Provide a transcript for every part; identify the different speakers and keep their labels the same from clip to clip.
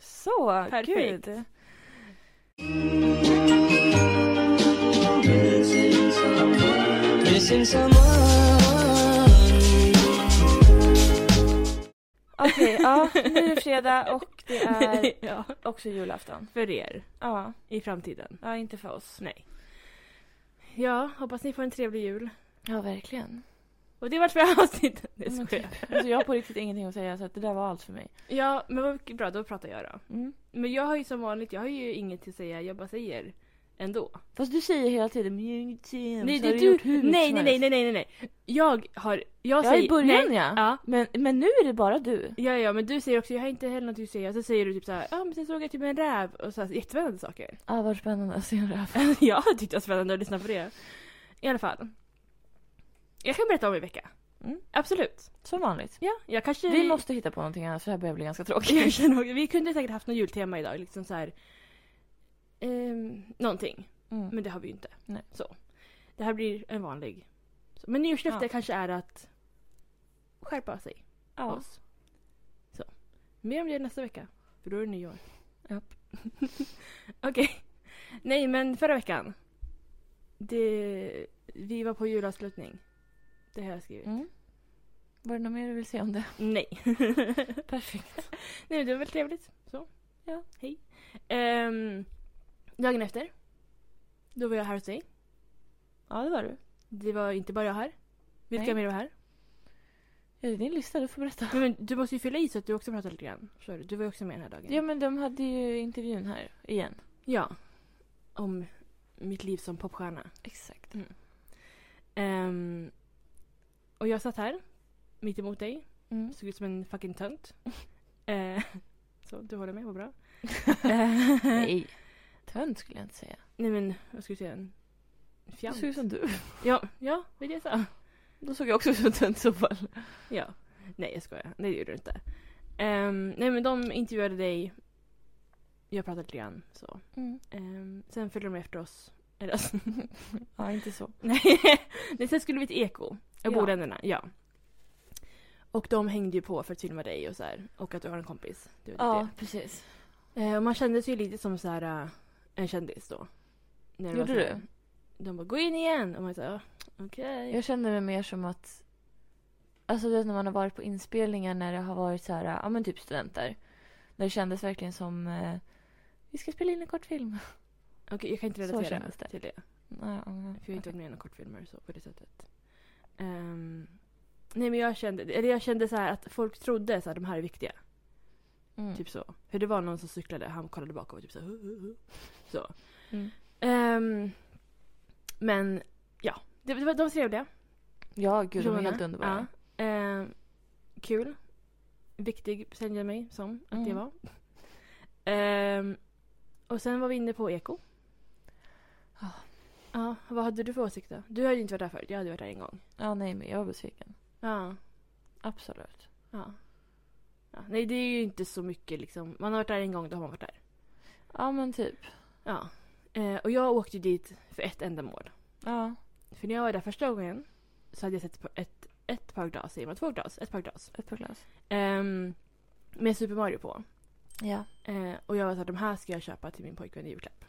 Speaker 1: Så,
Speaker 2: Perfekt.
Speaker 1: gud.
Speaker 3: Missing someone.
Speaker 1: Okej, ja, nu är det fredag och det är
Speaker 2: ja,
Speaker 1: också julafton.
Speaker 2: för er
Speaker 1: Ja,
Speaker 2: i framtiden.
Speaker 1: ja inte för oss.
Speaker 2: Nej. Ja, hoppas ni får en trevlig jul.
Speaker 1: Ja, verkligen.
Speaker 2: Och det vart för avsnittet. Nej,
Speaker 4: Men
Speaker 2: skojar.
Speaker 4: typ. Alltså jag har på riktigt ingenting att säga så att det där var allt för mig.
Speaker 2: Ja, men vad bra, då pratar jag då.
Speaker 4: Mm.
Speaker 2: Men jag har ju som vanligt, jag har ju inget att säga, jag bara säger ändå.
Speaker 4: Fast du säger hela tiden mjukteam.
Speaker 2: Nej, det är du. Nej, nej, nej, nej, nej, nej. Jag har... Jag
Speaker 4: Ja,
Speaker 2: säger...
Speaker 4: i början
Speaker 2: nej.
Speaker 4: ja.
Speaker 2: Ja.
Speaker 4: Men, men nu är det bara du.
Speaker 2: Ja, ja, men du säger också jag har inte heller något att säga. Så säger du typ så här, ja men sen såg jag typ en räv och så här, jättespännande saker.
Speaker 4: Ah, vad spännande att se en räv.
Speaker 2: jag tyckte det var spännande att lyssna på det. I alla fall. Jag kan berätta om i vecka.
Speaker 4: Mm.
Speaker 2: Absolut.
Speaker 4: Som vanligt.
Speaker 2: Ja, jag kanske...
Speaker 4: Vi måste hitta på någonting annars för det här börjar bli ganska
Speaker 2: Jag
Speaker 4: tråkigt.
Speaker 2: känner också- Vi kunde säkert haft något jultema idag, liksom så här... ehm, någonting.
Speaker 4: Mm.
Speaker 2: Men det har vi ju inte.
Speaker 4: Nej.
Speaker 2: Så. Det här blir en vanlig. Så, Men nyårslöfte
Speaker 4: Ja.
Speaker 2: kanske är att skärpa sig.
Speaker 4: Ja.
Speaker 2: Oss. Så. Mer om det nästa vecka. För då är det nyår.
Speaker 4: Japp.
Speaker 2: Okej. Nej, men förra veckan. Det, vi var på julavslutning. Det har jag skrivit.
Speaker 4: Mm. Var det något mer du vill säga om det?
Speaker 2: Nej.
Speaker 4: Perfekt.
Speaker 2: Nej, men det var väl trevligt. Så.
Speaker 4: Ja.
Speaker 2: Hej. Ehm, dagen efter. Då var jag här hos dig.
Speaker 4: Ja, det var du.
Speaker 2: Det var inte bara jag här. Vilka
Speaker 4: Nej.
Speaker 2: mer var här?
Speaker 4: Ja, det är din lista, du får berätta.
Speaker 2: Men, men du måste ju fylla i så att du också pratar lite grann. Förstår du? Du var ju också med den här dagen.
Speaker 4: Ja, men de hade ju intervjun här igen.
Speaker 2: Ja. Om mitt liv som popstjärna.
Speaker 4: Exakt.
Speaker 2: Ehm, och jag satt här, mitt emot dig.
Speaker 4: Mm.
Speaker 2: Såg ut som en fucking tönt. Eh, så, du håller med, vad bra.
Speaker 4: Nej. Tönt skulle jag inte säga.
Speaker 2: Nej men, vad ska du säga? En
Speaker 4: Du
Speaker 2: fjant?
Speaker 4: såg ut som du.
Speaker 2: Ja, ja, det är det jag sa.
Speaker 4: Då såg jag också ut som tönt i så fall.
Speaker 2: Ja. Nej, jag skojar. Nej, det gjorde du inte. Ehm, nej men de intervjuade dig. Jag pratade lite grann. Så.
Speaker 4: Mm.
Speaker 2: Ehm, sen följde de efter oss. Eller alltså,
Speaker 4: Ja, inte så.
Speaker 2: Nej. Nej, sen skulle vi till Eko. Och
Speaker 4: Ja.
Speaker 2: Bodänderna, ja. Och de hängde ju på för att filma dig och så här. Och att du har en kompis. Det var
Speaker 4: Ja,
Speaker 2: typ
Speaker 4: precis.
Speaker 2: det. Eh, och man kände sig ju lite som så här eh, en kändis då. När det var
Speaker 4: Gjorde
Speaker 2: så här-
Speaker 4: du?
Speaker 2: De bara gå in igen. Och man sa "Ja, okej.
Speaker 4: Jag kände mig mer som att... Alltså du vet när man har varit på inspelningar när det har varit så här, ja men typ studenter. När det kändes verkligen som, eh, vi ska spela in en kortfilm.
Speaker 2: Okej, jag kan inte
Speaker 4: Så
Speaker 2: relatera
Speaker 4: kändes det.
Speaker 2: till det.
Speaker 4: Ja, ja, ja.
Speaker 2: För jag har inte varit med i några kortfilmer så på det sättet. Ehm, nej men jag kände, eller jag kände så här att folk trodde så här, de här är viktiga.
Speaker 4: Mm.
Speaker 2: Typ så. För det var någon som cyklade, han kollade bakåt och typ så här, "Hu, hu, hu." Så.
Speaker 4: Mm.
Speaker 2: Ehm, men ja, det, det var, de var trevliga.
Speaker 4: Ja, gud de är
Speaker 2: personerna.
Speaker 4: helt underbara.
Speaker 2: Ja. Ehm, kul. Viktig kände jag mig som att det
Speaker 4: Mm.
Speaker 2: var. Ehm, och sen var vi inne på Eko.
Speaker 4: Ja.
Speaker 2: Ja, vad hade du för åsikt då? Du hade ju inte varit där förut, jag hade varit där en gång.
Speaker 4: Ja, nej men jag var besviken.
Speaker 2: Ja.
Speaker 4: Absolut.
Speaker 2: Ja. ja. Nej, det är ju inte så mycket liksom. Man har varit där en gång, då har man varit där.
Speaker 4: Ja men typ.
Speaker 2: Ja. Eh, och jag åkte ju dit för ett ändamål.
Speaker 4: Ja.
Speaker 2: För när jag var där första gången så hade jag sett på ett, ett par glas, säger man två glas? Ett par glas.
Speaker 4: Ett par glas.
Speaker 2: Ehm, med Super Mario på.
Speaker 4: Ja.
Speaker 2: Eh, och jag var såhär, de här ska jag köpa till min pojkvän i julklapp.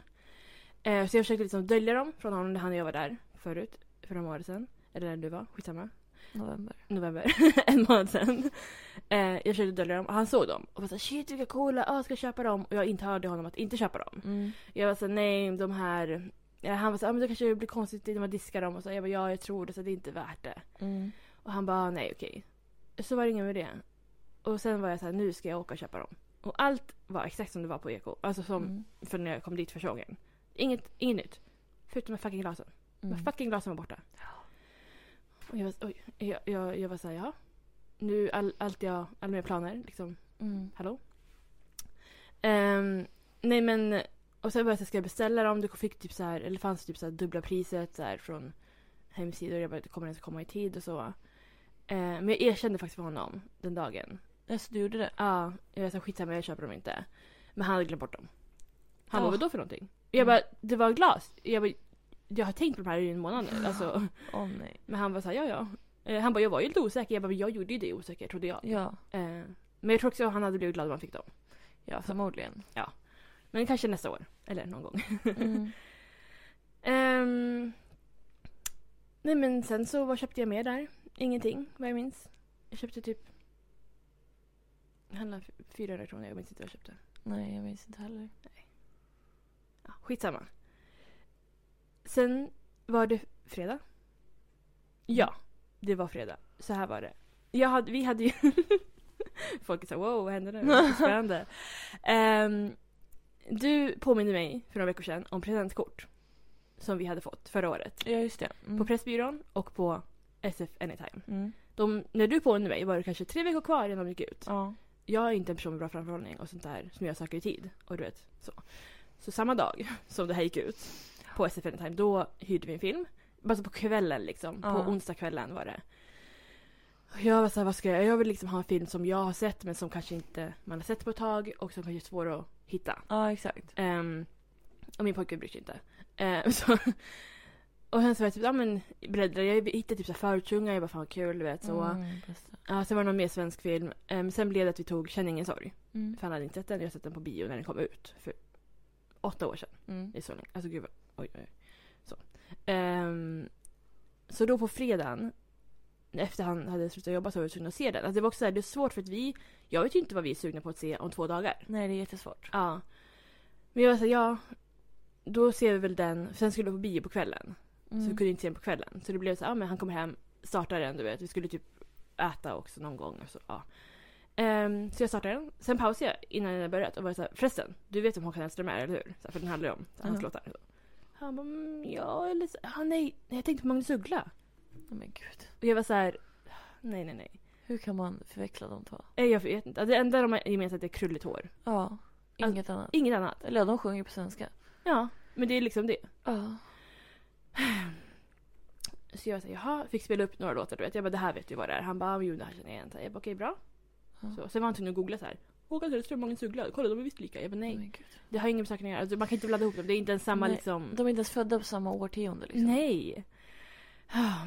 Speaker 2: Eh, så jag försökte liksom dölja dem från honom när han och jag var där förut. För några månader sedan. Eller när du var, skitsamma.
Speaker 4: November.
Speaker 2: november, en månad sedan. Eh, jag försökte dölja dem och han såg dem och var såhär shit vilka coola, ah, ska jag köpa dem? Och jag intalade honom att inte köpa dem.
Speaker 4: Mm.
Speaker 2: Jag var såhär nej de här, eh, han var såhär ah, men det kanske blir konstigt när man diskar dem och så. Jag bara ja jag tror det så det är inte värt det.
Speaker 4: Mm.
Speaker 2: Och han bara ah, nej okej. Så var det ingen med det. Och sen var jag såhär nu ska jag åka och köpa dem. Och allt var exakt som det var på Eko, alltså som
Speaker 4: Mm.
Speaker 2: för när jag kom dit första gången. Inget, inget nytt. Förutom de här fucking glasen.
Speaker 4: Mm.
Speaker 2: Men fucking glasen var borta. Och jag var, oj, jag, jag, jag var såhär, ja. Nu all, allt jag, alla mina planer liksom,
Speaker 4: Mm.
Speaker 2: hallå? Ehm, nej men, och sen började jag säga, ska jag beställa dem? Det fick typ så här, eller fanns typ så här dubbla priset så här från hemsidor. Jag bara, det kommer ens komma i tid och så. Ehm, men jag erkände faktiskt för honom den dagen.
Speaker 4: Alltså du gjorde det?
Speaker 2: Ja, jag var såhär, skitsamma jag köper dem inte. Men han hade glömt bort dem. Han
Speaker 4: Ja.
Speaker 2: bara, vadå för någonting? Jag bara,
Speaker 4: Mm.
Speaker 2: det var glas. Jag bara, jag har tänkt på de här i en månad nu. Alltså.
Speaker 4: Åh nej.
Speaker 2: Men han var såhär, ja ja. Eh, Han bara, jag var ju lite osäker. Jag bara, men jag gjorde ju det osäker trodde jag.
Speaker 4: Ja.
Speaker 2: Eh, Men jag tror också att han hade blivit glad om han fick dem.
Speaker 4: Ja, förmodligen.
Speaker 2: Men kanske nästa år. Eller någon gång.
Speaker 4: Mm.
Speaker 2: Ehm, nej men sen så vad köpte jag mer där? Ingenting vad jag minns. Jag köpte typ... Jag handlade för 400 kronor, jag minns inte vad jag köpte.
Speaker 4: Nej, jag minns inte heller.
Speaker 2: Ja, skitsamma. Sen var det fredag. Ja, det var fredag. Så här var det. Jag hade, vi hade ju... Folk sa wow, vad hände nu? Så Spännande. Ehm, du påminde mig för några veckor sedan om presentkort. Som vi hade fått förra året.
Speaker 4: Ja, just det. Mm.
Speaker 2: På Pressbyrån och på SF Anytime.
Speaker 4: mm.
Speaker 2: De, när du påminde mig var det kanske tre veckor kvar innan de gick ut.
Speaker 4: Ja.
Speaker 2: Jag är inte en person med bra framförhållning och sånt där som jag söker i tid. Och du vet, så. Så samma dag som det här gick ut på SF Anytime, då hyrde vi en film. Alltså på kvällen liksom.
Speaker 4: Ja.
Speaker 2: På onsdagskvällen var det. Och jag var såhär, vad ska jag göra? Jag vill liksom ha en film som jag har sett men som kanske inte man har sett på ett tag och som kanske är svår att hitta.
Speaker 4: ja, exakt.
Speaker 2: Ehm, och min pojke bryr sig inte. Ehm, så, och sen så var jag typ, ja men bläddrade, jag hittade typ så här förortsungar, jag bara fan vad kul du vet så.
Speaker 4: Mm, just det.
Speaker 2: Ja, sen var det någon mer svensk film. Ehm, sen blev det att vi tog Känn ingen sorg.
Speaker 4: Mm.
Speaker 2: För han hade inte sett den, jag har sett den på bio när den kom ut. För åtta år sedan.
Speaker 4: Mm.
Speaker 2: Det är så länge. Alltså gud vad, oj oj. oj. Så. Ehm, så då på fredagen, efter han hade slutat jobba så var vi tvungna att se den. Alltså det var också så här, det är svårt för att vi, jag vet ju inte vad vi är sugna på att se om två dagar.
Speaker 4: Nej, det är jättesvårt.
Speaker 2: Ja. Men jag var såhär, ja. Då ser vi väl den. Sen skulle vi på bio på kvällen.
Speaker 4: Mm.
Speaker 2: Så vi kunde inte se den på kvällen. Så det blev så här, ja men han kommer hem, startar den du vet. Vi skulle typ äta också någon gång. Och så, ja. Ehm, så jag startade den. Sen pausade jag innan jag börjat och var såhär, förresten, du vet vem Håkan Hellström är, eller hur? Så här, för den handlar ju om så här, hans
Speaker 4: Ja.
Speaker 2: låtar. Så. Han bara, mm, ja eller så, ah, nej, nej, jag tänkte på Magnus Uggla.
Speaker 4: Oh, men gud.
Speaker 2: Och jag var så här, nej nej nej.
Speaker 4: Hur kan man förväxla de två?
Speaker 2: Eh, Jag vet inte, det enda de har gemensamt är krulligt hår.
Speaker 4: Ja, inget annat.
Speaker 2: Inget annat.
Speaker 4: Eller ja, de sjunger på svenska.
Speaker 2: Ja, men det är liksom det.
Speaker 4: Ja.
Speaker 2: Så jag säger jaha, fick spela upp några låtar du vet. Jag bara det här vet du vad det är. Han bara jo det här känner jag igen. Så Jag bara okej bra.
Speaker 4: Ja.
Speaker 2: Så, sen var han tvungen att googla så här. Håkan Hellström, Magnus Uggla, kolla de är visst lika. Jag bara
Speaker 4: Nej.
Speaker 2: nej,
Speaker 4: Men gud.
Speaker 2: det har ingen med saken att göra. Alltså, man kan inte blanda ihop dem, det är inte ens samma
Speaker 4: Nej,
Speaker 2: liksom.
Speaker 4: De är inte ens födda på samma årtionde liksom.
Speaker 2: Nej. Ah,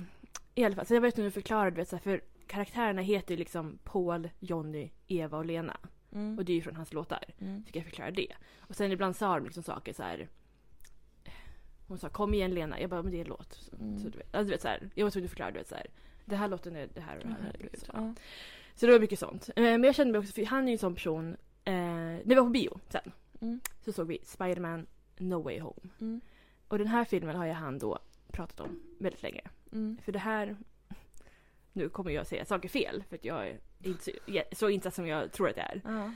Speaker 2: I alla fall, så jag var tvungen att förklara du vet så här, för karaktärerna heter ju liksom Paul, Jonny, Eva och Lena.
Speaker 4: Mm.
Speaker 2: Och det är ju från hans låtar.
Speaker 4: Mm.
Speaker 2: Fick jag förklara det. Och sen ibland sa de liksom saker så här. Hon sa kom igen Lena, jag bara men det är en låt. Så,
Speaker 4: Mm.
Speaker 2: så, du vet, alltså, du vet, så här, jag var tvungen att förklara du vet så här. Det här låten är det här och det
Speaker 4: Ja,
Speaker 2: här.
Speaker 4: Mm, herregud.
Speaker 2: liksom.
Speaker 4: Ja.
Speaker 2: Så det var mycket sånt. Eh, Men jag kände mig också, för han är ju en sån person. Eh, när vi var på bio sen
Speaker 4: Mm.
Speaker 2: så såg vi Spider-Man No Way Home.
Speaker 4: Mm.
Speaker 2: Och den här filmen har jag han då pratat om väldigt länge.
Speaker 4: Mm.
Speaker 2: För det här... Nu kommer jag säga saker fel för att jag är inte så, så insatt som jag tror att jag är.
Speaker 4: Ja.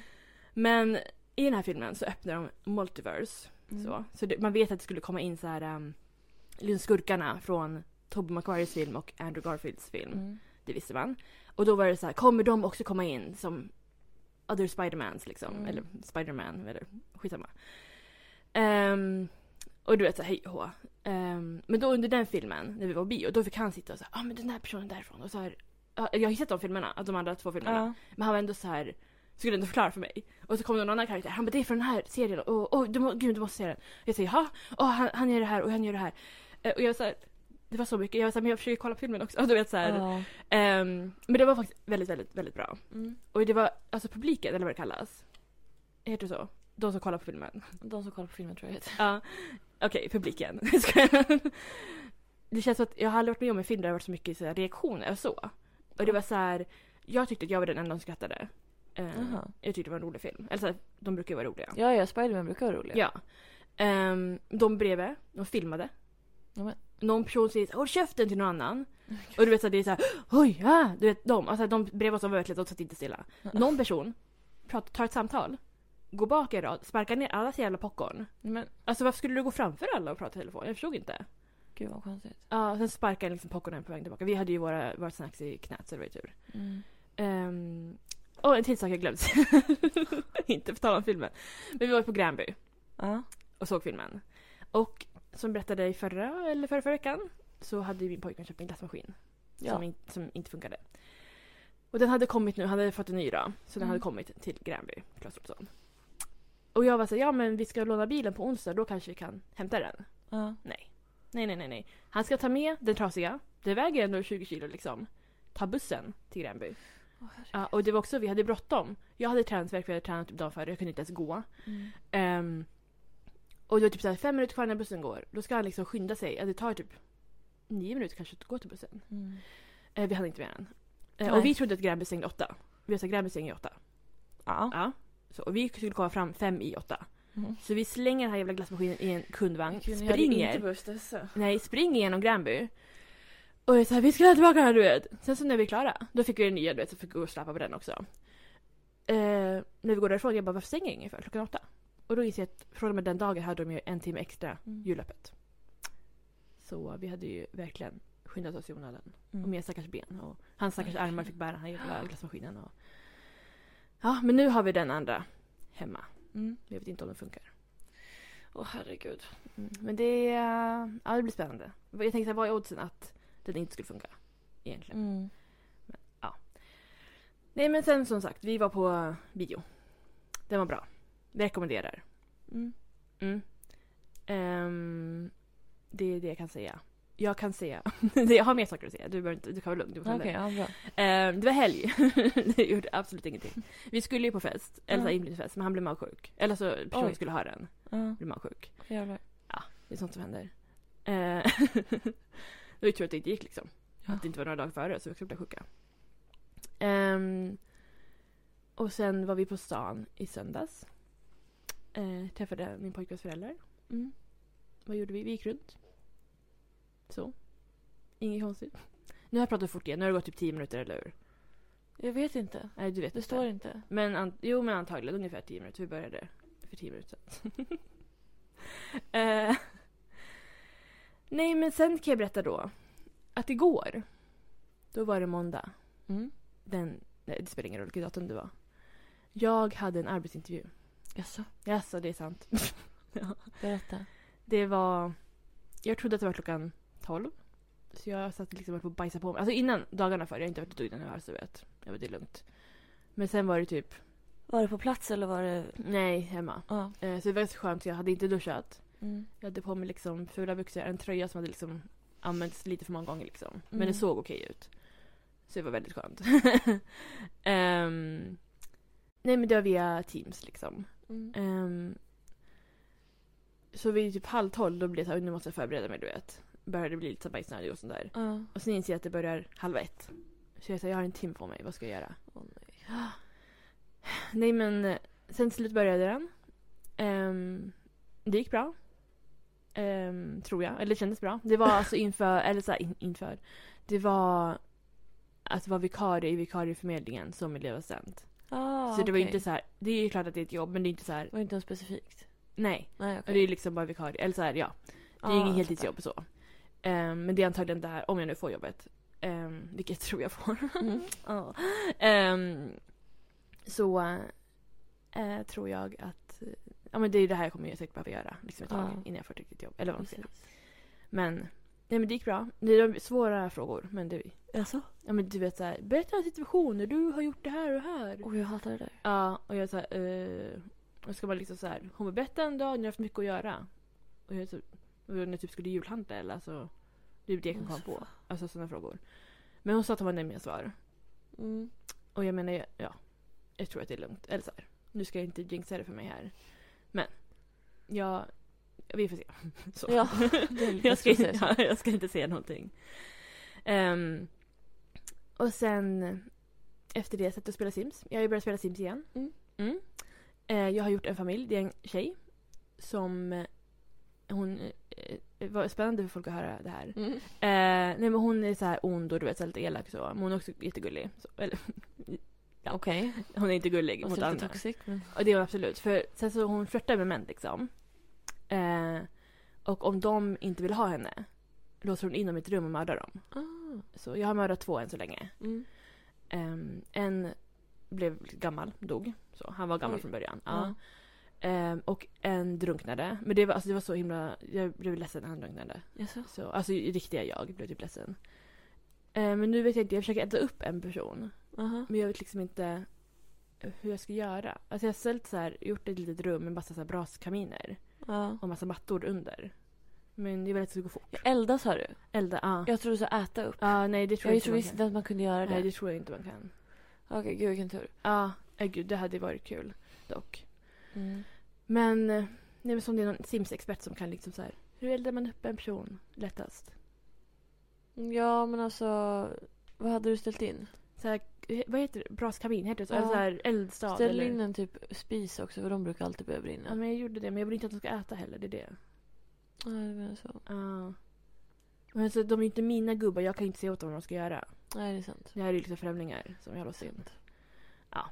Speaker 2: Men i den här filmen så öppnar de Multiverse.
Speaker 4: Mm.
Speaker 2: Så, så det, man vet att det skulle komma in så här um, liksom skurkarna från Tobey Maguires film och Andrew Garfields film.
Speaker 4: Mm.
Speaker 2: Det visste man. Och då var det så här, kommer de också komma in som other Spidermans liksom?
Speaker 4: Mm.
Speaker 2: Eller Spiderman eller skitsamma. Ehm, och du vet så här, hej och hå. Ehm, Men då under den filmen, när vi var på bio, då fick han sitta och säga ja ah, men den här personen därifrån och så här. ja, Jag har ju sett de filmerna, alltså de andra två filmerna.
Speaker 4: Ja.
Speaker 2: Men han var ändå så här skulle ändå förklara för mig. Och så kom det någon annan karaktär. Han bara det är från den här serien. Och, och du, må, gud du måste se den. Jag säger jaha. Och han, han gör det här och han gör det här. Eh, Och jag var så här, det var så mycket. Jag var så här, men jag försöker kolla på filmen också. Och du vet så här,
Speaker 4: Ja.
Speaker 2: ehm, men det var faktiskt väldigt, väldigt, väldigt bra.
Speaker 4: Mm.
Speaker 2: Och det var alltså publiken, eller vad det kallas. Heter det så? De som kollar på filmen.
Speaker 4: De som kollar på filmen tror jag heter.
Speaker 2: Ja. Okej, publiken. Skojar. det känns som att jag har aldrig varit med om en film där det har varit så mycket så här, reaktioner och så. Och det var så här, jag tyckte att jag var den enda som skrattade. Eh,
Speaker 4: Jaha.
Speaker 2: jag tyckte det var en rolig film. Eller så här, de brukar ju vara roliga.
Speaker 4: Ja, ja, Spiderman brukar vara roliga.
Speaker 2: Ja. Ehm, de bredvid, de filmade.
Speaker 4: Ja, men-
Speaker 2: Någon person säger så här, håll käften till någon annan. Och du vet så här, det är så här, oj, ah! Du vet de, alltså de bredvid oss var verkligen, de satt inte stilla. Någon person pratar, tar ett samtal, går bak en rad, sparkar ner alla sin jävla popcorn.
Speaker 4: Men
Speaker 2: Alltså varför skulle du gå framför alla och prata i telefon? Jag förstod inte.
Speaker 4: gud vad konstigt.
Speaker 2: Ja, sen sparkade liksom popcornen på vägen tillbaka. Vi hade ju våra, våra snacks i knät så det var ju tur.
Speaker 4: Mm.
Speaker 2: Ehm, och en till sak jag glömt. inte på tal om filmen. Men vi var på Gränby.
Speaker 4: Ja.
Speaker 2: och såg filmen. Och som jag berättade i förra eller förra, förra veckan så hade ju min pojkvän köpt en glassmaskin som,
Speaker 4: Ja.
Speaker 2: in, som inte funkade. Och den hade kommit nu, han hade fått en ny då, så den
Speaker 4: Mm.
Speaker 2: hade kommit till Gränby, Clas Ohlson. Och jag var så här, ja men vi ska låna bilen på onsdag, då kanske vi kan hämta den.
Speaker 4: ja.
Speaker 2: Nej. Nej, nej, nej, nej. Han ska ta med den trasiga, det väger ändå 20 kilo liksom. Ta bussen till Gränby. Ja, och det var också, vi hade bråttom. Jag hade träningsvärk, vi hade tränat typ dagen före, jag kunde inte ens gå.
Speaker 4: Mm.
Speaker 2: Ehm, och det var typ så här fem minuter kvar när bussen går. Då ska han liksom skynda sig. Ja, det tar typ nio minuter kanske att gå till bussen.
Speaker 4: Mm.
Speaker 2: Eh, vi hann inte med den. Eh,
Speaker 4: Nej.
Speaker 2: och vi trodde att Gränby stängde åtta. Vi sa Gränby stänger åtta.
Speaker 4: Ja.
Speaker 2: Ja. Så, och vi skulle komma fram fem i åtta.
Speaker 4: Mm.
Speaker 2: Så vi slänger den här jävla glassmaskinen i en kundvagn.
Speaker 1: Gud, ni hade inte
Speaker 2: springer.
Speaker 1: behövt stressa.
Speaker 2: Nej, springer genom Gränby. Och jag är så här, vi ska tillbaka här du vet. Sen så när vi är klara, då fick vi den nya du vet, så fick vi gå och släpa på den också. Eh, när vi går därifrån, jag bara varför stänger ingen för klockan åtta? Och då inser jag att från och med den dagen hade de ju en timme extra
Speaker 4: Mm.
Speaker 2: julöppet. Så vi hade ju verkligen skyndat oss i onödan.
Speaker 4: Mm.
Speaker 2: Och mina stackars ben. Och hans stackars
Speaker 4: Verkligen.
Speaker 2: armar fick bära den här jävla glassmaskinen. Och... Ja, men nu har vi den andra hemma.
Speaker 4: Mm.
Speaker 2: Jag vet inte om den funkar.
Speaker 1: Åh herregud.
Speaker 2: Mm. Men det, eh, ja, det blir spännande. Jag tänkte, så här, vad är oddsen att den inte skulle funka? Egentligen.
Speaker 4: Mm.
Speaker 2: Nej, men sen som sagt, vi var på bio. Den var bra. Vi rekommenderar.
Speaker 4: Mm.
Speaker 2: Mm. Ehm, det är det jag kan säga. Jag kan säga. jag har mer saker att säga. Du, behöver inte, du kan vara lugn. Du får
Speaker 4: Okej,
Speaker 2: ta det.
Speaker 4: ja, bra.
Speaker 2: Eh, det var helg. det gjorde absolut ingenting. Vi skulle ju på fest, eller
Speaker 4: Ja.
Speaker 2: mm. inbjudningsfest, men han blev magsjuk. Eller så personen
Speaker 4: Oj.
Speaker 2: skulle ha den,
Speaker 4: Ja,
Speaker 2: blev magsjuk.
Speaker 4: jävlar.
Speaker 2: Det är sånt som händer. Eh, det var ju tur att det inte gick liksom.
Speaker 4: Ja.
Speaker 2: Att det inte var några dagar före så vi också blev sjuka. Ehm, och sen var vi på stan i söndags. Eh, träffade min pojkväns föräldrar.
Speaker 4: Mm.
Speaker 2: Vad gjorde vi? Vi gick runt. Så. Inget konstigt. Nu har jag pratat fort igen, nu har det gått typ 10 minuter eller hur?
Speaker 4: Jag vet inte.
Speaker 2: Nej du vet
Speaker 4: Det
Speaker 2: inte.
Speaker 4: står inte.
Speaker 2: Men an- jo, men antagligen ungefär 10 minuter. Vi började för 10 minuter sedan. eh, nej, men sen kan jag berätta då att igår, då var det måndag.
Speaker 4: Mm.
Speaker 2: Den, nej, det spelar ingen roll vilket datum det var. Jag hade en arbetsintervju.
Speaker 4: Jaså?
Speaker 2: Jaså, det är sant.
Speaker 4: Berätta.
Speaker 2: Det var... Jag trodde att det var klockan 12. Så jag satt liksom och höll på att bajsa på mig. Alltså innan, dagarna före. Jag har inte varit ett dugg den här så jag vet. Jag vet, det är lugnt. Men sen var det typ...
Speaker 4: Var det på plats eller var det...
Speaker 2: Nej, hemma.
Speaker 4: Ja.
Speaker 2: Eh, så det var så skönt, jag hade inte duschat.
Speaker 4: Mm.
Speaker 2: Jag hade på mig liksom fula byxor, en tröja som hade liksom använts lite för många gånger. Liksom. Men
Speaker 4: Mm.
Speaker 2: det såg okej ut. Så det var väldigt skönt. Ehm, nej men det var via Teams liksom.
Speaker 4: Mm.
Speaker 2: Ehm, så vid typ halv tolv då blev det såhär, nu måste jag förbereda mig du vet. Började bli lite så här bajsnödig och sånt där.
Speaker 4: Ja.
Speaker 2: Och sen inser jag att det börjar halv ett. Så jag säger jag har en timme på mig, vad ska jag göra?
Speaker 4: Åh, nej.
Speaker 2: Nej men eh, sen till slut började den. Ehm, det gick bra. Ehm, tror jag. Eller det kändes bra. Det var alltså inför, eller så här, in, inför. Det var att vara vikarie i vikarieförmedlingen som elevassistent.
Speaker 4: Ah,
Speaker 2: så det var
Speaker 4: okej.
Speaker 2: inte så här, det är ju klart att det är ett jobb men det är inte så här,
Speaker 4: Det var inte något specifikt.
Speaker 2: nej.
Speaker 4: Nej, okej. Ah,
Speaker 2: Det är liksom bara vikarie, eller så här, ja. Det är inget heltidsjobb så. Ehm, men det är antagligen där, om jag nu får jobbet. Ehm, vilket jag tror jag får.
Speaker 4: Mm.
Speaker 2: Ja. Ehm, så eh, tror jag att... Ja men det är ju det här jag kommer ju säkert behöva göra liksom ett tag
Speaker 4: Ja.
Speaker 2: innan jag får ett riktigt jobb. Eller vad man ska säga.
Speaker 4: Precis.
Speaker 2: Men, nej men det gick bra. Det var svåra frågor men det...
Speaker 4: Jaså?
Speaker 2: Ja men du vet såhär, berätta en situation när du har gjort det här och det här.
Speaker 4: Oj, jag hatar det där.
Speaker 2: Ja och jag såhär, eh, och ska man liksom såhär, hon bara berätta en dag när du har haft mycket att göra. Och jag så, och när jag typ skulle julhandla eller alltså. Det är det jag kan komma
Speaker 4: Alltså,
Speaker 2: på. Alltså sådana frågor. Men hon sa att hon var nöjd med mina svar.
Speaker 4: Mm.
Speaker 2: Och jag menar, ja. Jag tror att det är lugnt. Eller så här, nu ska jag inte jinxa det för mig här. Men, ja. Vi får se. Så.
Speaker 4: Ja, det är lite
Speaker 2: jag, ska inte,
Speaker 4: stressigt.
Speaker 2: ja, jag ska inte säga någonting. Ehm, och sen efter det satt jag och spelade Sims. Jag har ju börjat spela Sims igen.
Speaker 4: Mm.
Speaker 2: Mm. Eh, jag har gjort en familj. Det är en tjej som... eh, Hon... Eh, var spännande för folk att höra det här.
Speaker 4: Mm.
Speaker 2: Eh, nej men hon är så här ond och du vet så här lite elak så. Men hon är också jättegullig. Så, eller, Ja.
Speaker 4: Okej.
Speaker 2: hon är inte gullig
Speaker 4: Okay.
Speaker 2: mot
Speaker 4: Lite
Speaker 2: andra.
Speaker 4: toxic, men...
Speaker 2: Och det var absolut. För sen så hon flörtar med män liksom. Eh, och om de inte vill ha henne låser hon in dem i ett rum och mördar dem.
Speaker 4: Ah.
Speaker 2: Så jag har mördat två än så länge.
Speaker 4: Mm.
Speaker 2: Ehm, en blev gammal, dog. Så, han var gammal
Speaker 4: Oj.
Speaker 2: från början. Ja.
Speaker 4: Ja.
Speaker 2: Ehm, och en drunknade. Men det var, alltså, det var så himla... Jag blev ledsen när han drunknade.
Speaker 4: Jaså?
Speaker 2: Så, alltså riktiga jag blev typ ledsen. Eh, men nu vet jag inte, jag försöker äta upp en person.
Speaker 4: Aha.
Speaker 2: Men jag vet liksom inte hur jag ska göra. Alltså jag har ställt så här, gjort ett litet rum med massa så här braskaminer
Speaker 4: Ja.
Speaker 2: och massa mattor under. Men jag vill att det ska gå fort.
Speaker 4: Elda sa du?
Speaker 2: Elda, ja.
Speaker 4: Jag trodde du sa äta upp.
Speaker 2: Ja, nej det tror jag,
Speaker 4: jag
Speaker 2: inte
Speaker 4: tror
Speaker 2: man
Speaker 4: visst
Speaker 2: kan.
Speaker 4: inte att man kunde göra det.
Speaker 2: Nej det tror jag inte man kan.
Speaker 4: Okej, gud vilken tur.
Speaker 2: Ja, eh, gud det hade varit kul dock.
Speaker 4: Mm.
Speaker 2: Men, eh, nej, men som det är någon Sims-expert som kan liksom så här. Hur eldar man upp en person lättast?
Speaker 4: Ja, men alltså. Vad hade du ställt in?
Speaker 2: Så här, eh, vad heter det? Braskamin heter det så? Eller
Speaker 4: Ja.
Speaker 2: så här eldstad?
Speaker 4: Ställ
Speaker 2: eller?
Speaker 4: in en typ spis också för de brukar alltid börja brinna.
Speaker 2: Ja, men jag gjorde det men jag vill inte att de ska äta heller, det är det.
Speaker 4: Ja, det menar så.
Speaker 2: Ja. Men alltså, de är ju inte mina gubbar, jag kan ju inte säga åt dem vad de ska göra.
Speaker 4: Nej, det är sant.
Speaker 2: Det här är ju liksom främlingar som jag har låst in. Ja.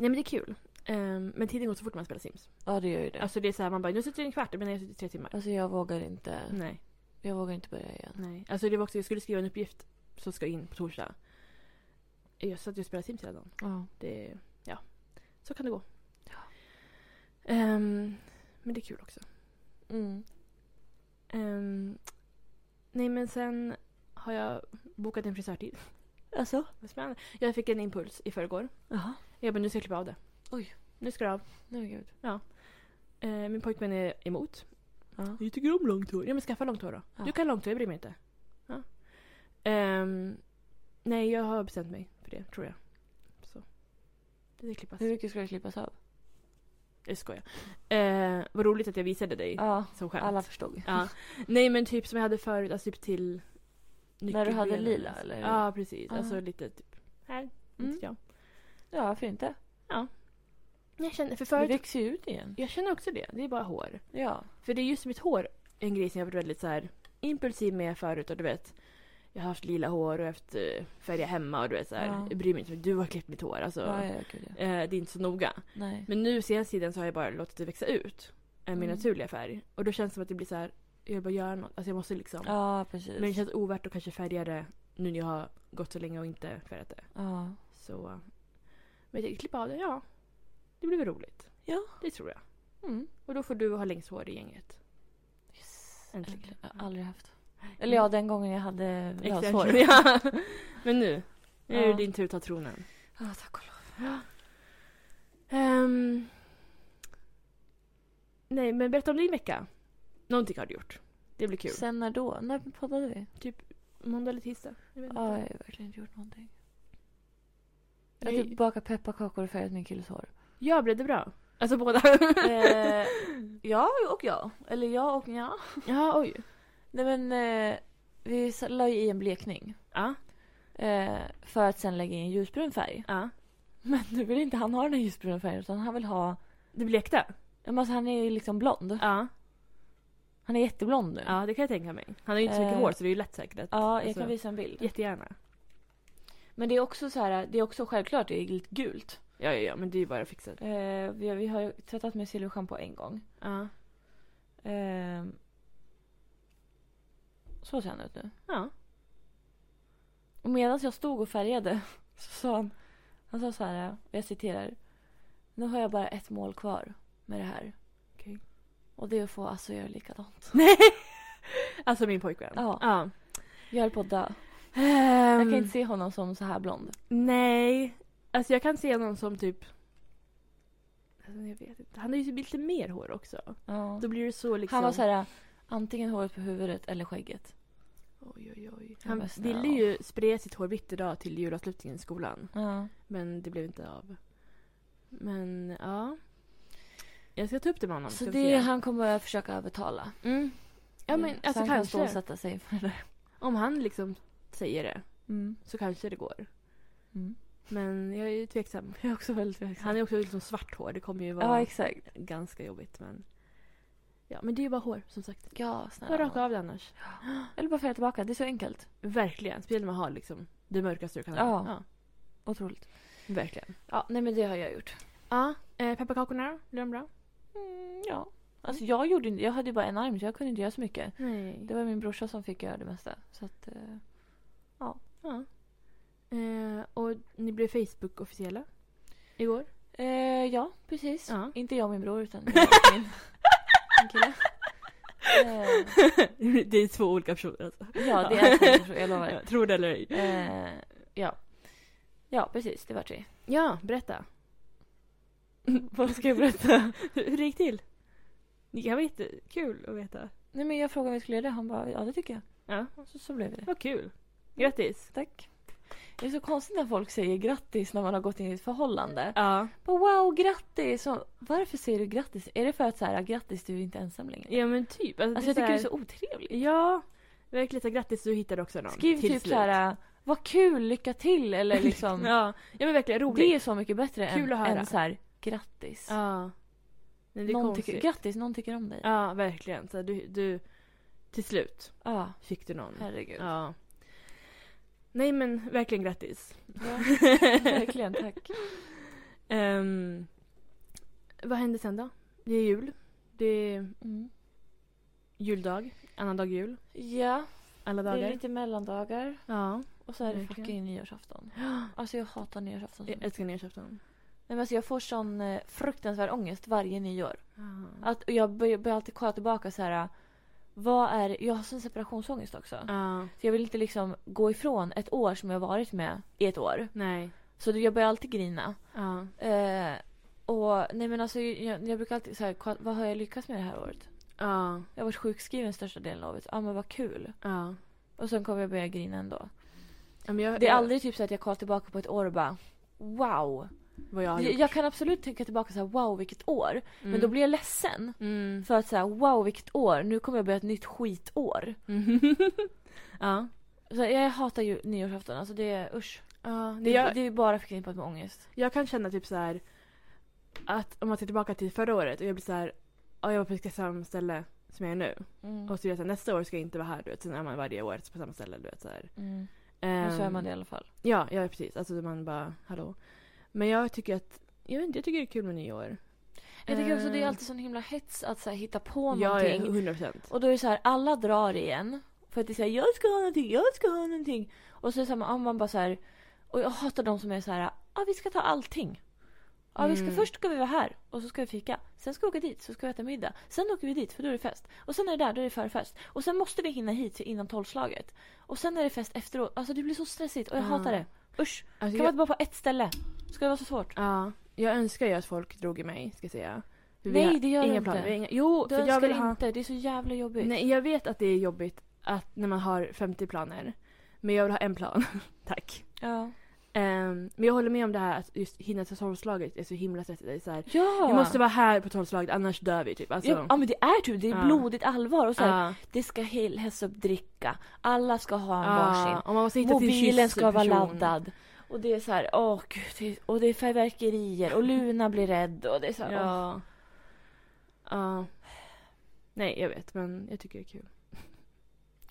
Speaker 2: Nej men det är kul. Ehm, men tiden går så fort när man spelar Sims.
Speaker 4: Ja, det gör ju det. Alltså,
Speaker 2: Alltså det är så här, man bara nu sitter jag i en kvart, men jag sitter i tre timmar.
Speaker 4: jag vågar inte.
Speaker 2: Nej.
Speaker 4: Jag vågar inte börja igen.
Speaker 2: Nej. Alltså det var också, jag skulle skriva en uppgift som ska in på torsdag. Jag satt ju och spelade Sims hela dagen.
Speaker 4: Ja.
Speaker 2: Det, ja. Så kan det gå.
Speaker 4: Ja.
Speaker 2: Ehm, men det är kul också.
Speaker 4: Mm.
Speaker 2: Ehm, nej men sen har jag bokat en frisörtid.
Speaker 4: Alltså?
Speaker 2: Vad spännande. Jag fick en impuls i förrgår.
Speaker 4: Jaha.
Speaker 2: Jag bara, nu ska jag klippa av det.
Speaker 4: Oj.
Speaker 2: Nu ska det av.
Speaker 4: Nej, men gud.
Speaker 2: Eh, min pojkvän är emot.
Speaker 4: Ja.
Speaker 2: Jag tycker om långt hår. Ja men skaffa långt hår då.
Speaker 4: Ja.
Speaker 2: Du kan ha långt hår, jag bryr mig inte. Ja. Ehm, nej, jag har bestämt mig för det, tror jag. Så. Det klippas.
Speaker 4: Hur mycket ska det klippas av?
Speaker 2: Jag skojar. Eh, vad roligt att jag visade dig
Speaker 4: Ja,
Speaker 2: som skämt.
Speaker 4: alla förstod.
Speaker 2: Ja. Nej men typ som jag hade förut, alltså typ till
Speaker 4: När du hade
Speaker 2: nyckelbenen.
Speaker 4: lila, eller?
Speaker 2: Ja precis,
Speaker 4: Ah.
Speaker 2: alltså lite typ här.
Speaker 4: Mm.
Speaker 2: Mm. Jag.
Speaker 4: Ja, varför inte?
Speaker 2: jag känner, för
Speaker 4: Det
Speaker 2: förut,
Speaker 4: växer ju ut igen.
Speaker 2: jag känner också det, det är bara hår.
Speaker 4: Ja.
Speaker 2: För det är just mitt hår en grej som jag har varit väldigt så här impulsiv med förut och du vet. Jag har haft lila hår och haft eh, färga hemma och du vet så här.
Speaker 4: Ja.
Speaker 2: Jag bryr mig inte, du har klippt mitt hår alltså.
Speaker 4: Ja, ja, gud, ja.
Speaker 2: Eh, det är inte så noga.
Speaker 4: Nej.
Speaker 2: Men nu senaste tiden så har jag bara låtit det växa ut. Än min
Speaker 4: Mm.
Speaker 2: naturliga färg. Och då känns det som att det blir så här. jag vill bara göra något. Alltså jag måste liksom.
Speaker 4: Ja, precis.
Speaker 2: Men det känns ovärt att kanske färga det nu när jag har gått så länge och inte färgat det.
Speaker 4: Ja.
Speaker 2: Så. eh, Men jag tänker klippa av det, ja. Det blir väl roligt.
Speaker 4: Ja.
Speaker 2: Det tror jag.
Speaker 4: Mm.
Speaker 2: Och då får du ha längst hår i gänget.
Speaker 4: Yes.
Speaker 2: Äntligen.
Speaker 4: Äntligen. Jag har aldrig haft. Eller ja, den gången jag hade löshår.
Speaker 2: Extension, ja. Men nu. Nu är det
Speaker 4: Ja.
Speaker 2: din tur att ta tronen.
Speaker 4: Ja, tack och lov.
Speaker 2: Ehm, nej, men berätta om din vecka. Någonting har du gjort. Det blir kul.
Speaker 4: Sen när då? När poddade vi?
Speaker 2: Måndag eller tisdag? Jag vet
Speaker 4: Ja, jag har
Speaker 2: inte.
Speaker 4: ju verkligen inte gjort någonting. Jag
Speaker 2: Jag,
Speaker 4: har typ bakat pepparkakor och färgat min killes hår.
Speaker 2: jag blev det bra. Alltså båda.
Speaker 4: eh, ja och ja. Eller ja och ja.
Speaker 2: ja, oj.
Speaker 4: Nej men eh, vi sa- la ju i en blekning.
Speaker 2: Ja,
Speaker 4: Eh, för att sen lägga i en ljusbrun färg.
Speaker 2: ja.
Speaker 4: Men nu vill inte han ha den här ljusbruna färgen utan han vill ha...
Speaker 2: Du blekte?
Speaker 4: Ja, men Alltså, han är ju liksom blond.
Speaker 2: Ja.
Speaker 4: Han är jätteblond nu.
Speaker 2: ja, det kan jag tänka mig. Han har ju inte så mycket
Speaker 4: Eh,
Speaker 2: hår så det är ju lätt säkert. att-
Speaker 4: Ja, jag
Speaker 2: alltså,
Speaker 4: kan visa en bild.
Speaker 2: Jättegärna.
Speaker 4: Men det är också så här, det är också självklart det är lite gult.
Speaker 2: Ja, ja, ja, men det är ju bara fixat.
Speaker 4: Eh, vi, vi har ju tvättat med silverschampo en gång.
Speaker 2: Ja.
Speaker 4: Eh, så ser han ut nu.
Speaker 2: Ja.
Speaker 4: Och medan jag stod och färgade så sa han, han sa så här, och jag citerar. Nu har jag bara ett mål kvar med det här.
Speaker 2: Okej.
Speaker 4: Och det är att få Asso göra likadant.
Speaker 2: Alltså min pojkvän.
Speaker 4: Ja.
Speaker 2: ja.
Speaker 4: Jag höll på att dö.
Speaker 2: Ehm,
Speaker 4: Jag kan inte se honom som så här blond.
Speaker 2: Nej. Alltså jag kan se någon som typ... Alltså jag vet inte. Han har ju lite mer hår också.
Speaker 4: Ja.
Speaker 2: Då blir det så liksom...
Speaker 4: Han var så här, antingen håret på huvudet eller skägget.
Speaker 2: Oj, oj, oj.
Speaker 4: Jag
Speaker 2: Han
Speaker 4: bara, snälla.
Speaker 2: ville ju spraya sitt hår vitt idag till julavslutningen i skolan.
Speaker 4: Ja.
Speaker 2: Men det blev inte av. Men ja. Jag ska ta upp det med honom.
Speaker 4: Så
Speaker 2: ska vi
Speaker 4: det
Speaker 2: se.
Speaker 4: han kommer att försöka övertala.
Speaker 2: Mm. Ja men
Speaker 4: Så
Speaker 2: alltså
Speaker 4: han kan stå och
Speaker 2: kanske.
Speaker 4: sätta sig inför det där.
Speaker 2: Om han liksom säger det
Speaker 4: Mm.
Speaker 2: så kanske det går.
Speaker 4: Mm.
Speaker 2: Men jag är ju tveksam.
Speaker 4: Jag är också väldigt tveksam.
Speaker 2: Han är också liksom svart hår. Det kommer ju
Speaker 4: Ja,
Speaker 2: vara
Speaker 4: exakt.
Speaker 2: ganska jobbigt men. Ja men det är ju bara hår som sagt.
Speaker 4: Ja,
Speaker 2: Bara raka
Speaker 4: snälla.
Speaker 2: av det annars.
Speaker 4: Eller bara färga tillbaka. Det är så enkelt.
Speaker 2: Verkligen. Speciellt när man har liksom det mörkaste du kan
Speaker 4: Ja.
Speaker 2: ha.
Speaker 4: Otroligt.
Speaker 2: Ja, verkligen.
Speaker 4: Ja, nej men det har jag gjort.
Speaker 2: Ja, eh, pepparkakorna då? Blir de bra?
Speaker 4: Mm, ja. Alltså jag gjorde inte, jag hade ju bara en arm så jag kunde inte göra så mycket.
Speaker 2: Nej.
Speaker 4: Det var min brorsa som fick göra det mesta. Så att, eh,
Speaker 2: Ja. Eh, och ni blev Facebook-officiella igår?
Speaker 4: eh, ja, precis.
Speaker 2: Ja.
Speaker 4: Inte jag och min bror utan jag och min, min kille. Eh,
Speaker 2: det är två olika personer alltså.
Speaker 4: ja, det är två personer, jag lovar.
Speaker 2: tror det eller ej.
Speaker 4: Eh, ja. ja, precis. Det var tre.
Speaker 2: Ja, berätta.
Speaker 4: Vad ska jag berätta?
Speaker 2: Hur hur gick det till? Det kan vara jättekul att veta.
Speaker 4: nej men jag frågade om vi skulle göra det. Han bara, ja det tycker jag.
Speaker 2: Ja,
Speaker 4: Så, så blev det.
Speaker 2: vad kul. Grattis.
Speaker 4: Tack. Det är så konstigt när folk säger grattis när man har gått in i ett förhållande.
Speaker 2: Ja.
Speaker 4: Bara, wow, grattis! Och varför säger du grattis? Är det för att så här, grattis, du är inte ensam längre?
Speaker 2: ja men typ. Alltså,
Speaker 4: Alltså jag
Speaker 2: det är
Speaker 4: tycker det är
Speaker 2: så
Speaker 4: så otrevligt.
Speaker 2: här- Ja. Verkligen så här, grattis du hittade också någon.
Speaker 4: Skriv
Speaker 2: till
Speaker 4: typ
Speaker 2: slut.
Speaker 4: så här, vad kul, lycka till eller liksom.
Speaker 2: Ja. ja men verkligen roligt.
Speaker 4: Det är så mycket bättre
Speaker 2: Kul att
Speaker 4: än,
Speaker 2: höra.
Speaker 4: än så här, grattis.
Speaker 2: Ja. Men det är
Speaker 4: någon
Speaker 2: konstigt.
Speaker 4: tycker, grattis, någon tycker om dig.
Speaker 2: Ja verkligen. Så här, du, du, till slut
Speaker 4: Ja,
Speaker 2: fick du någon.
Speaker 4: herregud.
Speaker 2: Ja. Nej men verkligen grattis.
Speaker 4: Ja, verkligen, tack.
Speaker 2: Ehm, vad händer sen då? Det är jul. Det är
Speaker 4: Mm.
Speaker 2: juldag. Annandag jul.
Speaker 4: Ja,
Speaker 2: Alla
Speaker 4: det är
Speaker 2: dagar.
Speaker 4: lite mellandagar.
Speaker 2: Ja.
Speaker 4: Och så är det
Speaker 2: Verkligen.
Speaker 4: fucking nyårsafton. Alltså jag hatar nyårsafton. så
Speaker 2: Jag
Speaker 4: mycket.
Speaker 2: älskar nyårsafton.
Speaker 4: Nej, men alltså, jag får sån eh, fruktansvärd ångest varje nyår. Att och jag börjar, börjar alltid kolla tillbaka så här. Vad är Jag har sån separationsångest också.
Speaker 2: Ja.
Speaker 4: Så jag vill inte liksom gå ifrån ett år som jag varit med i ett år.
Speaker 2: Nej.
Speaker 4: Så jag börjar alltid grina.
Speaker 2: Ja.
Speaker 4: Eh, och nej men alltså jag, jag brukar alltid så här, kolla, vad har jag lyckats med det här året?
Speaker 2: Ja.
Speaker 4: Jag har varit sjukskriven största delen av året. Ja ah, men vad kul.
Speaker 2: Ja.
Speaker 4: Och sen kommer jag börja grina ändå.
Speaker 2: Ja, men jag,
Speaker 4: Det är aldrig typ så att jag kollar tillbaka på ett år och bara wow.
Speaker 2: vad jag har
Speaker 4: Jag,
Speaker 2: gjort.
Speaker 4: jag kan absolut tänka tillbaka så här wow vilket år. Men då blir jag ledsen.
Speaker 2: Mm.
Speaker 4: För att säga wow vilket år, nu kommer jag börja ett nytt skitår.
Speaker 2: Mm. ja.
Speaker 4: Så jag hatar ju nyårsafton, alltså det är usch.
Speaker 2: ja.
Speaker 4: Det,
Speaker 2: Det, jag,
Speaker 4: det är bara förknippat med ångest.
Speaker 2: jag kan känna typ så här att om man ser tillbaka till förra året och jag blir så här, ja jag var på samma ställe som jag är nu.
Speaker 4: Mm.
Speaker 2: Och så är jag så här, nästa år ska jag inte vara här du vet. Sen är man varje år på samma ställe du vet så här.
Speaker 4: Mm.
Speaker 2: Ehm,
Speaker 4: Men så är man det i alla fall.
Speaker 2: Ja, ja precis. Alltså man bara, hallå. Men jag tycker att, jag vet inte, jag tycker det är kul med nyår.
Speaker 4: Jag tycker också det är
Speaker 2: Ehm,
Speaker 4: alltid sån himla hets att så här, hitta på
Speaker 2: Ja, ja,
Speaker 4: någonting.
Speaker 2: 100 procent.
Speaker 4: Och då är det så här, alla drar igen. För att det är så här, jag ska ha någonting, jag ska ha någonting. Och så är det så här, man bara så här, och jag hatar de som är så här, ah, vi ska ta allting. Ja, vi ska,
Speaker 2: Mm.
Speaker 4: först ska vi vara här och så ska vi fika. Sen ska vi åka dit, så ska vi äta middag. Sen åker vi dit för då är det fest. Och sen är det där, då är det förfest. Och sen måste vi hinna hit innan tolvslaget. Och sen är det fest efteråt. Alltså det blir så stressigt och jag
Speaker 2: Ja.
Speaker 4: hatar det. Usch,
Speaker 2: Alltså,
Speaker 4: kan man
Speaker 2: jag,
Speaker 4: inte bara på ett ställe? Ska det vara så svårt?
Speaker 2: ja, jag önskar ju att folk drog i mig, ska jag säga. För vi
Speaker 4: Nej,
Speaker 2: har
Speaker 4: det gör du
Speaker 2: inga
Speaker 4: inte.
Speaker 2: planer. Vi har Inga, jo,
Speaker 4: Du
Speaker 2: för jag vill
Speaker 4: önskar
Speaker 2: ha...
Speaker 4: inte, det är så jävla jobbigt.
Speaker 2: Nej, jag vet att det är jobbigt att när man har 50 planer. Men jag vill ha en plan. Tack.
Speaker 4: Ja.
Speaker 2: Ehm, men jag håller med om det här att just hinna till tolvslaget är så himla stressigt. Det är så här,
Speaker 4: Ja!
Speaker 2: Jag måste vara här på tolvslaget annars dör vi typ. Alltså,
Speaker 4: Ja, ja men det är typ, det är
Speaker 2: Ja.
Speaker 4: blodigt allvar och så här,
Speaker 2: ja,
Speaker 4: Det ska hel- hällas upp dricka. Alla ska ha en
Speaker 2: ja,
Speaker 4: varsin.
Speaker 2: och man måste hitta till
Speaker 4: Mobilen ska vara
Speaker 2: kyssperson.
Speaker 4: laddad. Och det är så här, åh gud. Det är, och det är fyrverkerier och Luna blir rädd och det är så här, åh.
Speaker 2: Ja. Ja. Nej, jag vet, men jag tycker det är kul.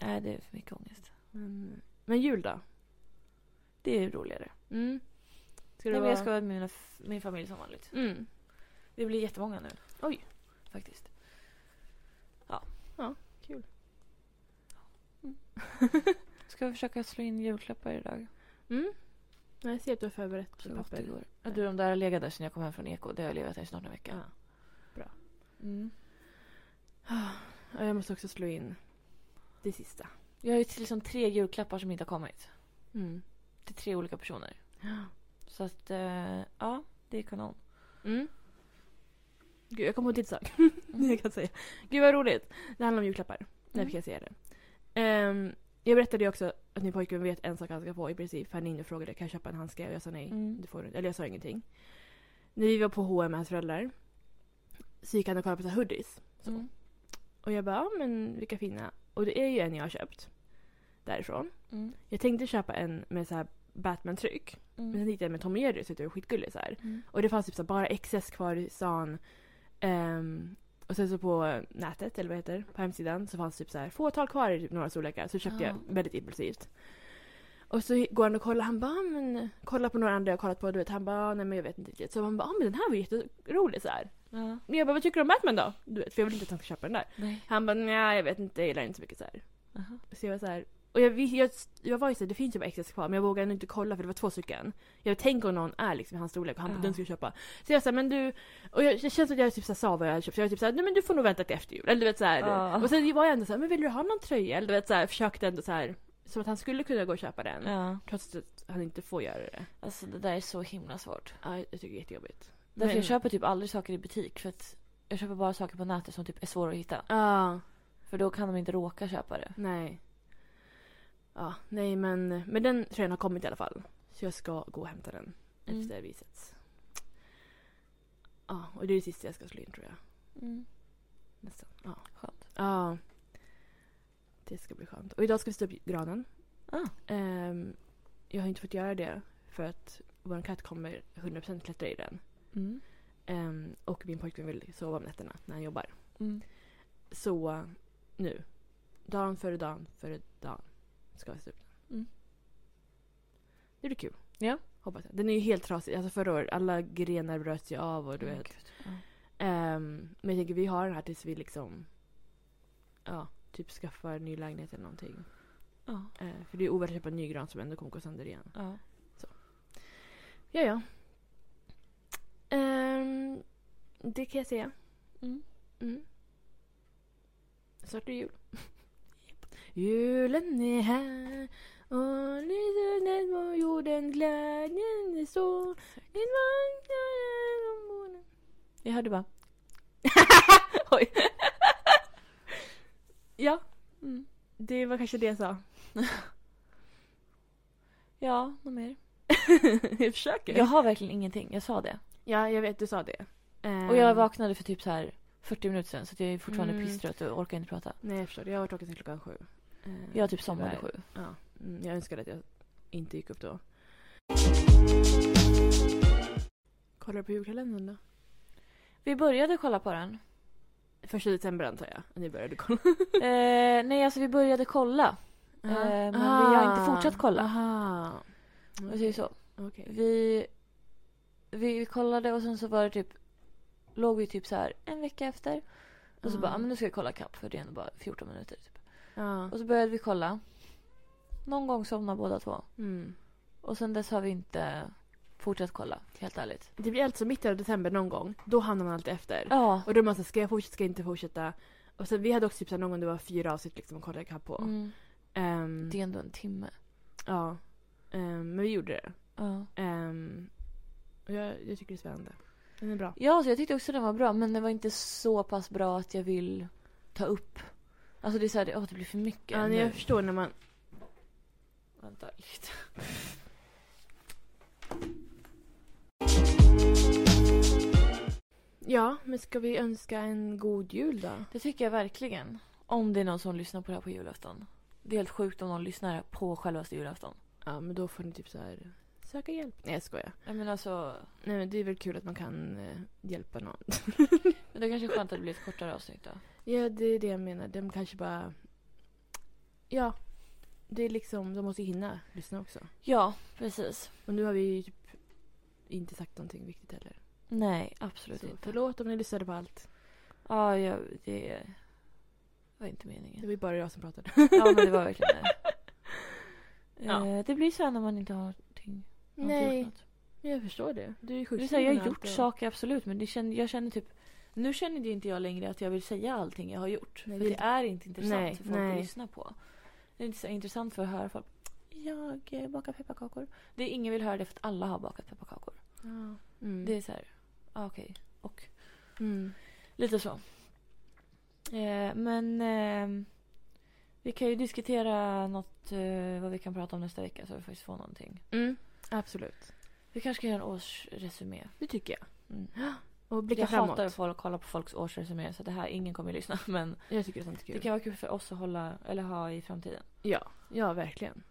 Speaker 4: Nej, det är för mycket ångest.
Speaker 2: Men, men jul då?
Speaker 4: Det är ju roligare.
Speaker 2: Mm. Ska det
Speaker 4: Nej, men
Speaker 2: vara...
Speaker 4: jag ska vara med mina, f- min familj som vanligt.
Speaker 2: Mm.
Speaker 4: Vi blir jättemånga nu.
Speaker 2: Oj.
Speaker 4: Faktiskt.
Speaker 2: Kul.
Speaker 4: Ska vi försöka slå in julklappar idag?
Speaker 2: Mm. Ja, Jag ser att du har förberett
Speaker 4: Så
Speaker 2: på
Speaker 4: gott det
Speaker 2: papper.
Speaker 4: går. Ja, du, de där har legat där sedan jag kom hem från Eko. Det har jag legat där i snart en vecka.
Speaker 2: Ja. Bra.
Speaker 4: Mm.
Speaker 2: Ja, jag måste också slå in det sista.
Speaker 4: Jag har ju till liksom tre julklappar som inte har kommit.
Speaker 2: Mm.
Speaker 4: Till tre olika personer. Så att, eh, ja, det är kanon.
Speaker 2: Mm. Gud, jag kom på en till sak. jag kan säga. Gud vad roligt. Det handlar om julklappar. Därför
Speaker 4: Mm.
Speaker 2: kan jag säga det. Ehm, jag berättade ju också att min pojkvän vet en sak han ska få i princip. För han frågade kan jag köpa en handske och jag sa nej.
Speaker 4: Mm.
Speaker 2: Du får, inte." eller jag sa ingenting. När vi var på H&M med hans föräldrar så gick han och kollade på så här hoodies. Så.
Speaker 4: Mm.
Speaker 2: Och jag bara, ja, men vilka fina. Och det är ju en jag har köpt därifrån.
Speaker 4: Mm.
Speaker 2: Jag tänkte köpa en med så här Batman-tryck. Men sen
Speaker 4: Mm.
Speaker 2: hittade jag en med Tom och Jerry så det var skitgulligt så här.
Speaker 4: Mm.
Speaker 2: Och det fanns typ så här, bara XS kvar i stan. Ehm, och sen så på nätet, eller vad heter det, på hemsidan så fanns typ så här fåtal kvar i typ några storlekar. Så köpte
Speaker 4: Ja.
Speaker 2: jag väldigt impulsivt. Och så går han och kollar, han bara "Ah, men kolla på några andra jag kollat på, du vet han bara "Ah, nej men jag vet inte riktigt. Så han bara ah, men den här var jätterolig så här.
Speaker 4: Ja.
Speaker 2: Men jag bara vad tycker du om Batman då? Du vet för jag vill inte att han ska köpa den där.
Speaker 4: Nej.
Speaker 2: Han bara nej jag vet inte, jag gillar inte så mycket så här.
Speaker 4: Aha.
Speaker 2: Så jag var så här, och jag, vis- jag, jag var ju såhär, det finns ju bara XS kvar men jag vågade inte kolla för det var två stycken. Jag tänkte om någon är liksom i hans storlek och han bara
Speaker 4: Ja.
Speaker 2: den ska jag köpa. Så jag sa men du, och jag, det känns som att jag typ så här, sa vad jag hade köpt så jag var typ såhär, nej men du får nog vänta till efter jul. Eller du vet såhär.
Speaker 4: Ja.
Speaker 2: Och sen var jag ändå såhär, men vill du ha någon tröja? Eller du vet såhär, försökte ändå såhär. Som att han skulle kunna gå och köpa den.
Speaker 4: Ja.
Speaker 2: Trots att han inte får göra det.
Speaker 4: Alltså det där är så himla svårt.
Speaker 2: Ja, jag tycker det är jättejobbigt.
Speaker 4: Därför
Speaker 2: Men-
Speaker 4: jag köper typ aldrig saker i butik för att jag köper bara saker på nätet som typ är svåra att hitta.
Speaker 2: Ja,
Speaker 4: För då kan de inte råka köpa det.
Speaker 2: nej. Ja, nej men, men den tröjan har kommit i alla fall. Så jag ska gå och hämta den
Speaker 4: Mm.
Speaker 2: efter vi ses. Ja, och det är det sista jag ska slå in tror jag.
Speaker 4: Mm.
Speaker 2: Nästan. Ja.
Speaker 4: Skönt.
Speaker 2: ja. Det ska bli skönt. Och idag ska vi sätta upp granen.
Speaker 4: Ah.
Speaker 2: Ehm, jag har inte fått göra det för att vår katt kommer 100% klättra i den.
Speaker 4: Mm.
Speaker 2: Ehm, och min pojkvän vill sova om nätterna när han jobbar.
Speaker 4: Mm.
Speaker 2: Så eh, nu. Dagen före dagen före dagen ska vi se upp den.
Speaker 4: Mm.
Speaker 2: Det blir kul.
Speaker 4: Ja.
Speaker 2: Hoppas jag. Den är ju helt trasig. Alltså förra året, alla grenar bröts ju av och du vet. Ehm, men jag tänker vi har den här tills vi liksom ja, typ skaffar ny lägenhet eller någonting.
Speaker 4: Ja.
Speaker 2: Eh, för det är ovärt att köpa en ny gran som ändå kommer gå sönder igen.
Speaker 4: Ja.
Speaker 2: Ja, ja. Ehm, det kan jag säga.
Speaker 4: Mm.
Speaker 2: Mm. Snart är det jul. Julen är här och lyser på jorden glädjen är stor. En vacker dag om morgonen.
Speaker 4: Jag hörde bara.
Speaker 2: Oj. ja,
Speaker 4: Mm.
Speaker 2: det var kanske det jag sa.
Speaker 4: Ja, något mer?
Speaker 2: jag försöker.
Speaker 4: Jag
Speaker 2: Ja.
Speaker 4: har verkligen ingenting. Jag sa det.
Speaker 2: ja, jag vet du sa det. Ehm,
Speaker 4: Och jag vaknade för typ så här 40 minuter sedan så att jag är fortfarande
Speaker 2: Mm.
Speaker 4: pisstrött och orkar inte prata.
Speaker 2: Nej, jag förstår. Jag har varit vaken till klockan sju. Ehm,
Speaker 4: Jag typ somnade
Speaker 2: tyvärr.
Speaker 4: sju.
Speaker 2: Ja, mm, jag önskar att jag inte gick upp då. Kollar du på julkalendern då?
Speaker 4: Vi började kolla på den.
Speaker 2: Första december antar jag. Ni började kolla.
Speaker 4: eh, nej, alltså vi började kolla. Eh, men vi har inte fortsatt kolla.
Speaker 2: Ah, Aha.
Speaker 4: Om vi säger så.
Speaker 2: Okej.
Speaker 4: Vi, vi kollade och sen så var det typ... Låg vi typ så här en vecka efter. Och så
Speaker 2: Ja.
Speaker 4: bara, "Ah, men nu ska vi kolla kapp för det är ändå bara 14 minuter. Typ.
Speaker 2: Ja.
Speaker 4: Och så började vi kolla. Någon gång somnade båda två.
Speaker 2: Mm.
Speaker 4: Och sen dess har vi inte fortsatt kolla, helt ärligt.
Speaker 2: Det blir alltså mitten av december någon gång. Då hamnar man alltid efter.
Speaker 4: Ja.
Speaker 2: Och då är man såhär, ska jag fortsätta, ska jag inte fortsätta? Och sen vi hade också typ såhär, någon gång det var fyra avsnitt liksom att kolla ikapp på.
Speaker 4: Mm.
Speaker 2: Ehm,
Speaker 4: Det är ändå en timme.
Speaker 2: Ja. Ehm, men vi gjorde det.
Speaker 4: Ja.
Speaker 2: Ehm, och jag, jag tycker det är spännande. Den är bra.
Speaker 4: Ja, så jag tyckte också den var bra, men den var inte så pass bra att jag vill ta upp. Alltså det är så här, det, åh, det blir för mycket.
Speaker 2: Ja,
Speaker 4: nu.
Speaker 2: nej, jag förstår när man...
Speaker 4: Vänta lite.
Speaker 2: Ja, men ska vi önska en god jul då?
Speaker 4: Det tycker jag verkligen. Om det är någon som lyssnar på det här på julafton. Det är helt sjukt om någon lyssnar på självaste julafton.
Speaker 2: Ja, men då får ni typ så här söka hjälp. Nej, jag skojar.
Speaker 4: Jag menar alltså,
Speaker 2: Nej, men det är väl kul att man kan eh, hjälpa någon.
Speaker 4: men det kanske är skönt att det blir ett kortare avsnitt då.
Speaker 2: ja, det är det jag menar. De kanske bara... Ja, det är liksom... De måste hinna lyssna också.
Speaker 4: Ja, precis.
Speaker 2: Och nu har vi ju typ inte sagt någonting viktigt heller.
Speaker 4: Nej, absolut
Speaker 2: Så
Speaker 4: inte.
Speaker 2: förlåt om ni lyssnade på allt.
Speaker 4: Ja, jag, det var inte
Speaker 2: Det
Speaker 4: meningen.
Speaker 2: var ju bara jag som pratade.
Speaker 4: Ja, men det var verkligen det.
Speaker 2: Ja.
Speaker 4: Eh, Det blir så här när man inte har någonting. har inte gjort
Speaker 2: Nej,
Speaker 4: något.
Speaker 2: men jag förstår det. Du är ju
Speaker 4: Det är
Speaker 2: sjukskriven.
Speaker 4: så här, jag har
Speaker 2: och
Speaker 4: gjort
Speaker 2: allt och-
Speaker 4: saker absolut men det känner, jag känner typ nu känner det inte jag längre att jag vill säga allting jag har gjort.
Speaker 2: Nej,
Speaker 4: för
Speaker 2: det-
Speaker 4: det är inte intressant
Speaker 2: Nej,
Speaker 4: för folk
Speaker 2: nej.
Speaker 4: att lyssna på. Det är inte så intressant för att höra folk. Jag eh, bakar pepparkakor. Det är ingen vill höra det för att alla har bakat pepparkakor.
Speaker 2: Ja. Mm.
Speaker 4: Det är så här, ah, okej. Och
Speaker 2: Mm.
Speaker 4: lite så. Eh, men eh, vi kan ju diskutera något eh, vad vi kan prata om nästa vecka så vi faktiskt får någonting.
Speaker 2: Mm. Absolut.
Speaker 4: Vi kanske kan göra en årsresumé.
Speaker 2: Det tycker jag.
Speaker 4: Mm.
Speaker 2: Och blicka
Speaker 4: jag
Speaker 2: framåt.
Speaker 4: hatar att folk kollar på folks årsresuméer så det här, ingen kommer att lyssna. Men
Speaker 2: Jag tycker det är sånt
Speaker 4: det
Speaker 2: kul.
Speaker 4: kan vara kul för oss att hålla, eller ha i framtiden.
Speaker 2: Ja, ja verkligen.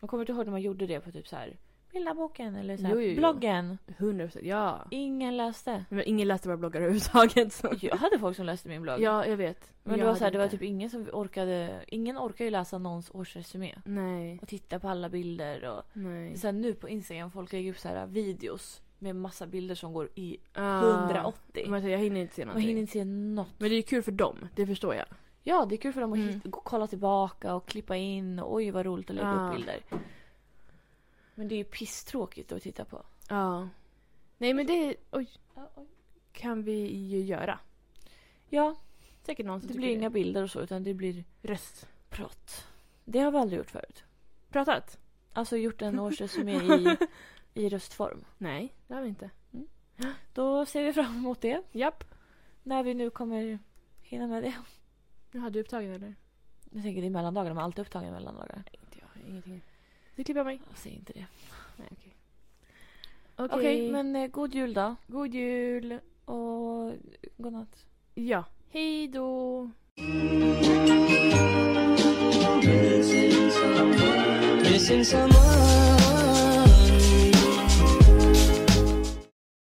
Speaker 4: Man kommer inte ihåg när man gjorde det på typ så här Bildaboken eller så här,
Speaker 2: Jo, jo, jo.
Speaker 4: bloggen.
Speaker 2: 100 procent. Ja.
Speaker 4: Ingen läste.
Speaker 2: Men ingen läste våra bloggar överhuvudtaget. Så.
Speaker 4: Jag hade folk som läste min blogg.
Speaker 2: Ja, jag vet.
Speaker 4: men det
Speaker 2: jag
Speaker 4: var, så här,
Speaker 2: hade
Speaker 4: det var
Speaker 2: inte.
Speaker 4: typ ingen som orkade, ingen orkar ju läsa någons årsresumé.
Speaker 2: Nej,
Speaker 4: Och titta på alla bilder och
Speaker 2: nej.
Speaker 4: sen nu på Instagram folk lägger upp så här videos med massa bilder som går i
Speaker 2: Ah.
Speaker 4: 180.
Speaker 2: Men alltså, jag hinner inte se
Speaker 4: Man
Speaker 2: någonting.
Speaker 4: hinner inte se något.
Speaker 2: Men det är ju kul för dem, det förstår jag.
Speaker 4: Ja, det är kul för dem att
Speaker 2: Mm.
Speaker 4: hit, gå- kolla tillbaka och klippa in och oj vad roligt att lägga
Speaker 2: Ja.
Speaker 4: upp bilder. Men det är ju pisstråkigt att titta på.
Speaker 2: Ja. Nej men det oj, kan vi ju göra.
Speaker 4: Ja,
Speaker 2: Säkert någon som
Speaker 4: det
Speaker 2: tycker
Speaker 4: blir inga bilder och så utan det blir
Speaker 2: Röst.
Speaker 4: prat. Det har vi aldrig gjort förut.
Speaker 2: Pratat?
Speaker 4: Alltså gjort en årsresumé i, i röstform.
Speaker 2: Nej, det har vi inte.
Speaker 4: Då ser vi fram emot det.
Speaker 2: Japp.
Speaker 4: När vi nu kommer hinna med det.
Speaker 2: Nu hade du upptagen eller?
Speaker 4: Jag tänker det är mellandagar, de är alltid upptagna i mellandagar.
Speaker 2: Inte jag. ingenting. Du klipper jag mig.
Speaker 4: Säg inte det.
Speaker 2: Nej, okej.
Speaker 4: Okej, men eh, god jul då.
Speaker 2: god jul.
Speaker 4: Och godnatt.
Speaker 2: Ja. Hej då.
Speaker 3: Missing someone